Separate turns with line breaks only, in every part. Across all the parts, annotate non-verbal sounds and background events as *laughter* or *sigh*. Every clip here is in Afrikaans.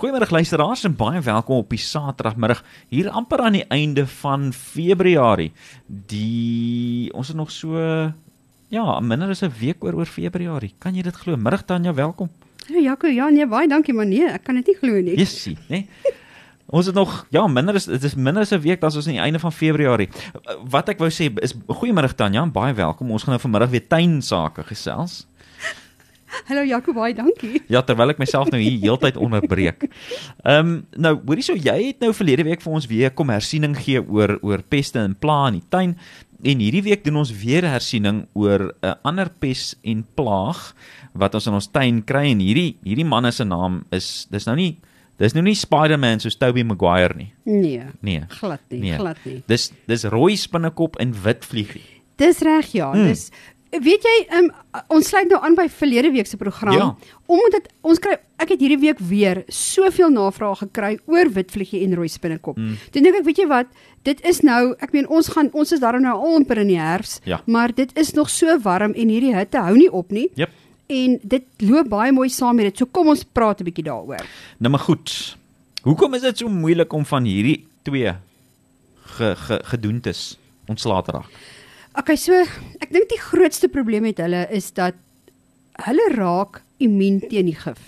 Goeiemôre luisteraars en baie welkom op die Saterdagmiddag hier amper aan die einde van Februarie. Die ons het nog so ja, minder as 'n week oor oor Februarie. Kan jy dit glo? Middag Tanya, welkom.
Hallo Jaco, ja nee, baie dankie maar nee, ek kan dit nie glo nie.
Jessie, né? Ons het nog ja, minder is dit is minder as 'n week dan ons aan die einde van Februarie. Wat ek wou sê is goeiemôre Tanya, en baie welkom. Ons gaan nou vanmiddag weer tuinsake gesels.
Hallo Jaco, baie dankie.
Ja, terwyl ek myself nou hier heeltyd onderbreek. Ehm um, nou, hoorie so jy het nou verlede week vir ons weer kom hersiening gee oor oor peste en pla in die tuin en hierdie week doen ons weer hersiening oor 'n uh, ander pes en plaag wat ons in ons tuin kry en hierdie hierdie man se naam is dis nou nie dis nou nie Spider-Man soos Tobey Maguire nie.
Nee,
Nee.
glad nie,
Nee.
glad nie.
Dis dis rooi spinnekop en wit vliegie.
Dis reg ja,
Hmm.
dis weet jy, um, ons sluit nou aan by verlede week se program
Ja.
omdat dit ons kry ek het hierdie week weer soveel navraag gekry oor witvliegie en rooi spinnekop.
Hmm.
Toe dink ek, weet jy wat, dit is nou, ek meen ons gaan ons is daarom nou al amper in die herfs,
Ja.
maar dit is nog so warm en hierdie hitte hou nie op nie.
Jep.
En dit loop baie mooi saam met dit. So kom ons praat 'n bietjie daaroor.
Nou maar goed. Hoekom is dit so moeilik om van hierdie twee ge, ge, gedoentes ontslae te raak?
Okay, so ek dink die grootste probleem met hulle is dat hulle raak immuun teen die gif.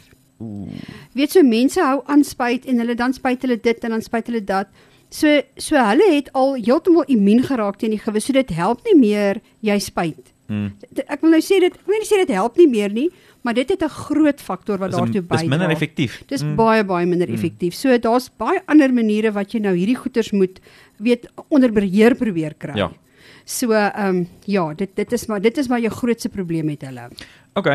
Weet so mense hou aan spuit en hulle dan spuit hulle dit en dan spuit hulle dat. So so hulle het al heeltemal immuun geraak teen die gif. So dit help nie meer jy spuit.
Mm.
D- Ek wil nou sê dit ek wil nie sê dit help nie meer nie, maar dit het 'n groot faktor wat
Dis
daartoe
dis
bydra.
minder Mm. effektief.
Dis baie baie minder effektief. So daar's baie ander maniere wat jy nou hierdie goeters moet weet onder beheer probeer kry.
Ja.
So ehm ja, dit dit is maar dit is maar jou grootste probleem met hulle.
OK.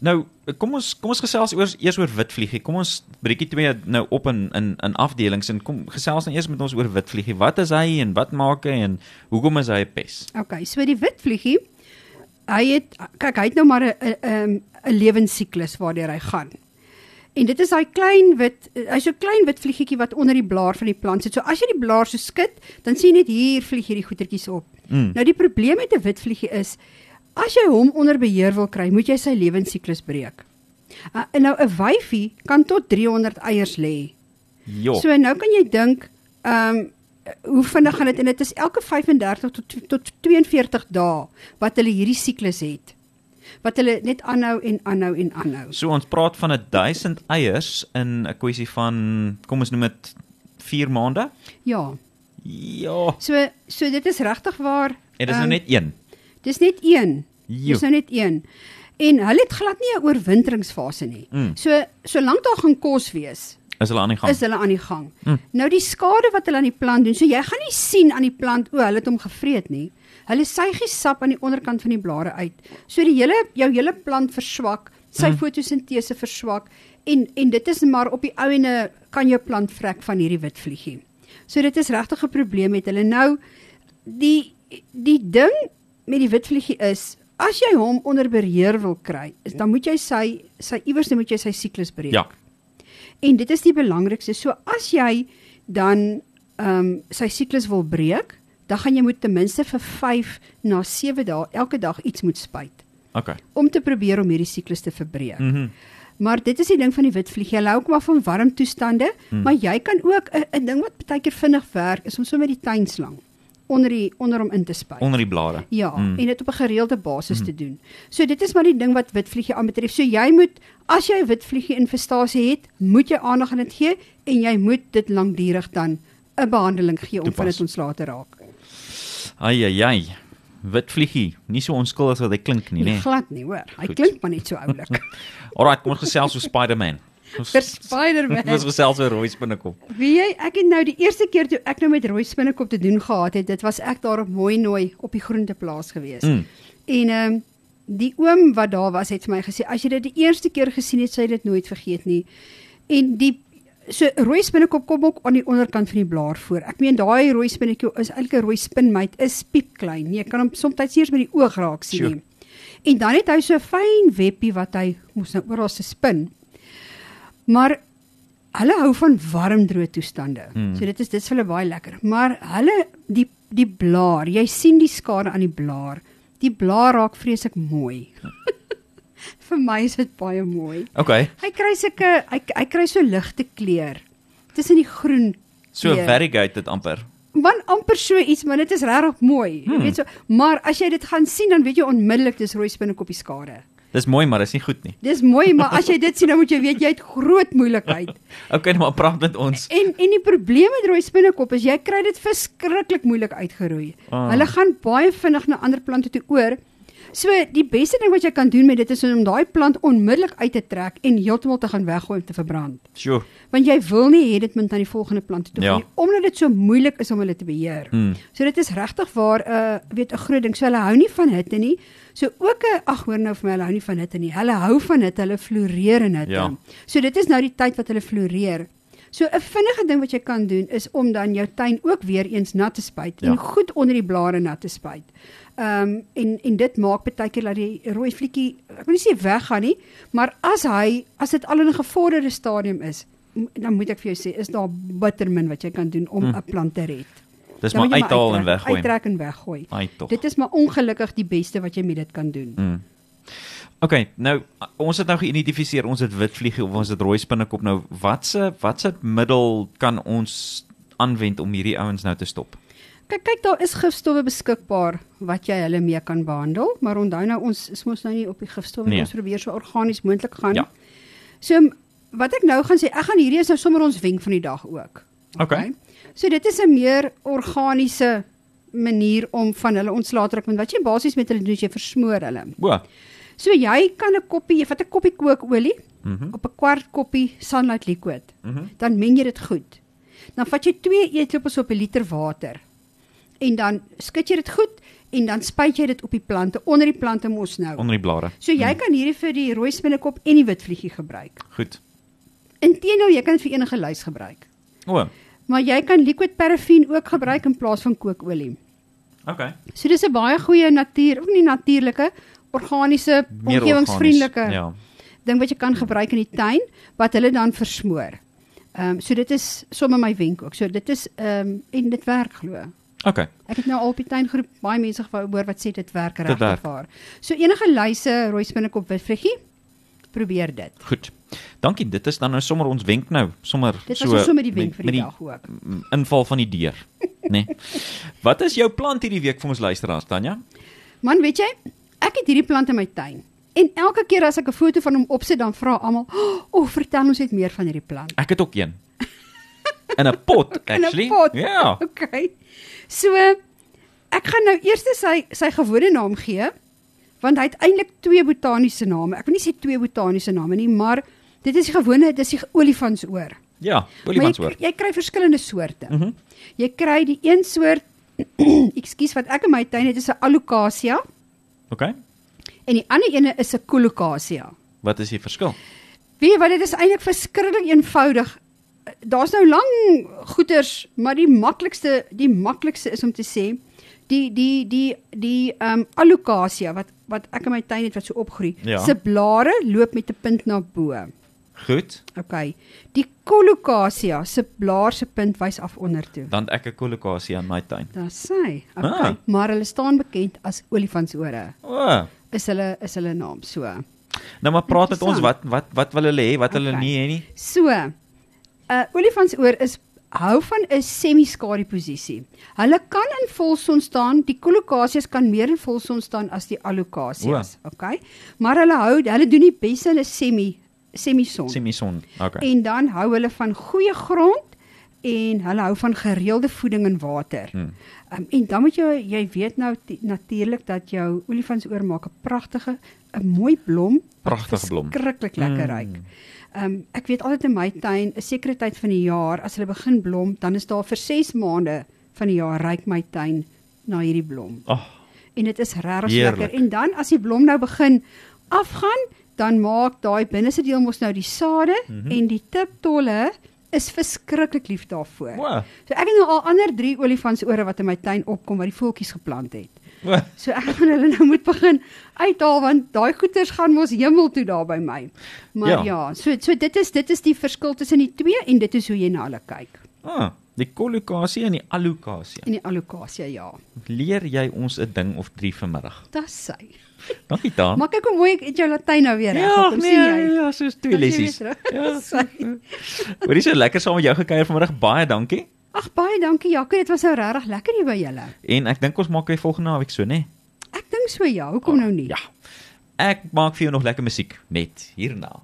Nou kom ons kom ons gesels oor eers oor witvliegie. Kom ons breekie twee nou op in in in afdelings en kom gesels nou eers met ons oor witvliegie. Wat is hy en wat maak hy en hoekom is hy 'n pes?
Okay, so die witvliegie hy het kyk hy het nou maar 'n 'n ehm, 'n lewensiklus waardeur hy gaan. En dit is daai klein wit hy's so klein wit vliegietjie wat onder die blaar van die plant sit. So as jy die blaar so skud, dan sien jy net hier vlieg hierdie goetertjies op.
Mm.
Nou die probleem met 'n wit vliegie is as jy hom onder beheer wil kry, moet jy sy lewensiklus breek. Uh, en nou 'n wyfie kan tot 300 eiers lê.
Jo.
So nou kan jy dink, ehm um, hoe vinnig gaan dit en dit is elke 35 tot tot 42 dae wat hulle hierdie siklus het. Wat hulle net aanhou en aanhou en aanhou.
So ons praat van 'n 1000 eiers in 'n kwessie van kom ons noem dit 4 maande.
Ja.
Ja.
So so dit is regtig waar.
En dis nou
ehm,
net een.
dis net een.
Jo.
Dis nou net een. En hulle het glad nie 'n oorwinteringsfase nie.
Mm.
So solank daar gaan kos wees,
Is hulle aan die gang?
is hulle aan die gang.
Mm.
Nou die skade wat hulle aan die plant doen, so jy gaan nie sien aan die plant o, hulle het hom gevreet nie. Hulle suig die sap aan die onderkant van die blare uit. So die hele jou hele plant verswak, sy
Hm.
fotosintese verswak en en dit is maar op die ou ene kan jou plant vrek van hierdie wit vliegie. So dit is regtig 'n probleem met hulle nou die die ding met die wit vliegie is as jy hom onder beheer wil kry, is dan moet jy sy sy iewers moet jy sy siklus breek.
ja.
En dit is die belangrikste. So as jy dan ehm sy siklus wil breek, dan gaan jy moet ten minste vir 5 na 7 dae elke dag iets moet spuit
OK.
om te probeer om hierdie siklus te verbreek.
Mhm. Mm
Maar dit is die ding van die witvlieg. Jy hou ook maar van warm toestande, maar jy kan ook 'n 'n ding wat baie keer vinnig werk is om so met die tuinslang onder die onder hom in te spuit.
Onder die blare.
Ja,
Mm.
en dit op 'n gereelde basis
Hmm.
te doen. So dit is maar die ding wat witvliegie aanbetref. So jy moet as jy 'n witvliegie infestasie het, moet jy aandag aan dit gee en jy moet dit lankdurig dan 'n behandeling gee om van
Toepas. Nee,
dit ontslae te raak.
Ai ai ai. Wit vliegie, nie so onskuldig as wat hy klink nie,
Nee.
né?
Glad nie, hoor. Hy
Goed.
klink maar net
*laughs*
so oulik.
Alraai, kom ons gesels oor
*laughs*
Spider-Man. Ons-
Vir Spider-Man.
Ons gesels oor rooi spinnekop.
Wie jy, ek het nou die eerste keer toe ek nou met rooi spinnekop te doen gehad het, dit was ek daar op mooi nooi op die groenteplaas gewees.
Mm.
En ehm die oom wat daar was het vir my gesê as jy dit die eerste keer gesien het, sou jy dit nooit vergeet nie. En die so rooi spinnekop kom ook aan die onderkant van die blaar voor. Ek meen daai rooi spinnetjie is eintlik 'n rooi spinmyt, is piepklein. Jy kan hom soms eers met die oog raak sien.
Sure.
Sure. En dan het hy so 'n fyn webbie wat hy moes nou oral se spin. Maar hulle hou van warm droë toestande.
Mm.
So dit is dit is vir hulle baie lekker. Maar hulle die die blaar, jy sien die skade aan die blaar. Die blaar raak vreeslik mooi. *laughs* vir my is dit baie mooi.
Okay.
Hy kry sulke hy hy kry so ligte kleur tussen die groen.
So
kleur.
variegated amper.
man amper so iets, maar dit is regtig mooi. Hmm. Jy weet so, maar as jy dit gaan sien dan weet jy onmiddellik dis rooi spinnekoppies skade.
Dis mooi, maar dis nie goed nie.
Dis mooi, maar as jy dit sien dan moet jy weet jy het groot moeilikheid.
Okay, nou maar praat met ons.
En en die probleem met rooi spinnekop is jy kry dit verskriklik moeilik uitgeroei.
Ah.
Ah. Hulle gaan baie vinnig na ander plante toe oor. So die beste ding wat jy kan doen met dit is om daai plant onmiddellik uit te trek en heeltemal te gaan weggooi om te verbrand.
Sjoe.
Want jy wil nie hê dit moet aan die volgende plant toe
Ja.
gaan nie, omdat dit so moeilik is om hulle te beheer.
Mm.
So dit is regtig waar 'n uh, weet 'n groot ding. So hulle hou nie van hitte nie. So ook 'n ag hoor nou vir my, hulle hou nie van hitte nie. Hulle hou van hitte, hulle floreer in hitte.
Ja.
So dit is nou die tyd wat hulle floreer. So 'n vinnige ding wat jy kan doen is om dan jou tuin ook weer eens nat te spuit
Ja.
en goed onder die blare nat te spuit. Ehm um, en en dit maak baie keer dat die rooi vlietjie, ek wil nie sê weggaan nie, maar as hy as dit al in 'n gevorderde stadium is, m- dan moet ek vir jou sê is daar bitter min wat jy kan doen om 'n
Hm.
plant te red.
Dis
Dan
maar
moet jy
uithaal en
uittrek-
weggooi.
Uittrek en weggooi.
Ai tog.
Dit is maar ongelukkig die beste wat jy met dit kan doen.
Mm. Okay, nou ons het nou geïdentifiseer, ons het witvliegie of ons het rooi spinnekop nou. Watse watse middel kan ons aanwend om hierdie ouens nou te stop?
Kyk, kyk daar is gifstowwe beskikbaar wat jy hulle mee kan behandel, maar onthou nou ons is mos nou nie op die gifstowwe
Nee.
nee. ons probeer so organies moontlik gaan.
Ja.
So m- wat ek nou gaan sê, ek gaan hierdie is nou sommer ons wenk van die dag ook.
Okay.
So dit is 'n meer organiese manier om van hulle ontslae te raak want wat jy basies met hulle doen is jy versmoor hulle.
Bo.
So jy kan 'n koppie, jy vat 'n koppie kookolie
Mhm.
op 'n kwart koppie sunlight liquid.
Mhm.
Dan meng jy dit goed. Dan vat jy 2 eetlepels op 'n liter water. En dan skud jy dit goed en dan spuit jy dit op die plante, onder die plante mos nou.
Onder die blare.
So jy kan hierdie vir die rooi spinnekop en die wit vliegie gebruik.
Goed.
Inteendeel, jy kan dit vir enige lys gebruik.
O.
Maar jy kan liquid paraffin ook gebruik in plaas van kookolie.
Okay.
So dis 'n baie goeie natuur, of nie natuurlike, organiese,
Meer
omgewingsvriendelike
organies. Ja.
ding wat jy kan gebruik in die tuin wat hulle dan versmoor. Ehm um, so dit is sommer my wenk ook. So dit is ehm um, en dit werk glo.
Okay.
Ek het nou al op die tuingroep baie mense gehoor hoor wat sê dit werk regtig
werk.
waar. So enige luise rooi spinnekop witvruggie, probeer dit.
Goed. Dankie. Dit is dan nou sommer ons wenk nou, sommer
Dit was so, so met die wenk vir die, die dag ook.
m- inval van die deur, *laughs* né? Nee. Wat is jou plant hierdie week vir ons luisteraars, Tanya?
Man, weet jy, ek het hierdie plant in my tuin. En elke keer as ek 'n foto van hom opsit, dan vra almal, "O, oh, vertel ons net meer van hierdie plant."
Ek het ook een. In 'n pot actually.
*laughs* In 'n pot. *laughs*
Ja.
Okay. So ek gaan nou eers sy sy gewone naam gee want hy het eintlik twee botaniese name. Ek wil nie sê twee botaniese name nie, maar dit is die gewone, dis die olifantsoor.
Ja,
Maar
olifantsoor.
jy, jy kry verskillende soorte.
Mhm.
Jy kry die een soort *clears throat* ekskuus wat ek in my tuin het is 'n alocasia
Okay.
en die ander ene is 'n colocasia.
Wat is die verskil?
Weet jy wat dit is eintlik verskriklik eenvoudig. Daar's nou lang goeters, maar die maklikste die maklikste is om te sê die die die die ehm um, alocasia wat wat ek in my tuin het wat so opgroei.
Ja.
Se blare loop met 'n punt na bo.
Goed.
OK. Die colocasia se blaar se punt wys af onder toe.
Dan het ek 'n kolokasie aan my tuin.
Daar sê. OK.
Ah.
Ah. Maar hulle staan bekend as olifantsore.
O. Oh.
Is hulle is hulle naam so.
Nou maar praat met ons wat
Interessant.
wat wat wil hulle hê, wat hulle
Okay.
nie hê nie.
So, 'n uh, olifantsoor is hou van 'n semi-skadu posisie. Hulle kan in volson staan, die kolokasias kan meer in volson staan as die allokasias, okay? Maar hulle hou hulle doen die beste in 'n semi semison.
Sê my son. Okay.
En dan hou hulle van goeie grond en hulle hou van gereelde voeding en water.
Hmm.
Um, en dan moet jy jy weet nou die- natuurlik dat jou olifantsoor maak 'n pragtige 'n mooi blom, wat
Pragtige blom.
verskriklik lekker ruik. Ehm um, ek weet altyd in my tuin, 'n sekere tyd van die jaar as hulle begin blom, dan is daar vir 6 maande van die jaar ryk my tuin na hierdie blom.
Ag, oh,
En dit is regtig so
Heerlik.
lekker. En dan as die blom nou begin afgaan, dan maak daai binneste deel mos nou die sade mm -hmm. en die tiptolle is verskriklik lief daarvoor.
Wow.
So ek het nou al ander 3 olifantsore wat in my tuin opkom wat die voeltjies geplant het.
o,
So ek gaan hulle nou moet begin uithaal want daai goeters gaan mos hemel toe daar by my. Maar
Ja.
ja, ja so so dit is dit is die verskil tussen die twee en dit is hoe jy na hulle kyk.
ah, Die kollokasie en die allokasie.
en die allokasie ja.
Leer jy ons 'n ding of drie vanmiddag.
Dis sy.
Dankie Daan.
Maar kyk hoe mooi ek het jou Latyn nou weer reg.
Ja,
Kom
nee,
sien jy.
ja, soos twee
Dan sien jy
lessies.
weer terug.
Ja.
*laughs* Sy.
Hoorie so lekker saam met jou gekuier vanmiddag. Baie dankie.
Ag baie dankie Jaco, dit was nou regtig lekker hier by julle.
En ek dink ons maak weer volgende naweek so, né? Nee?
Ek dink so ja, hoekom nou nie?
Ja. Ek maak vir jou nog lekker musiek net hierna.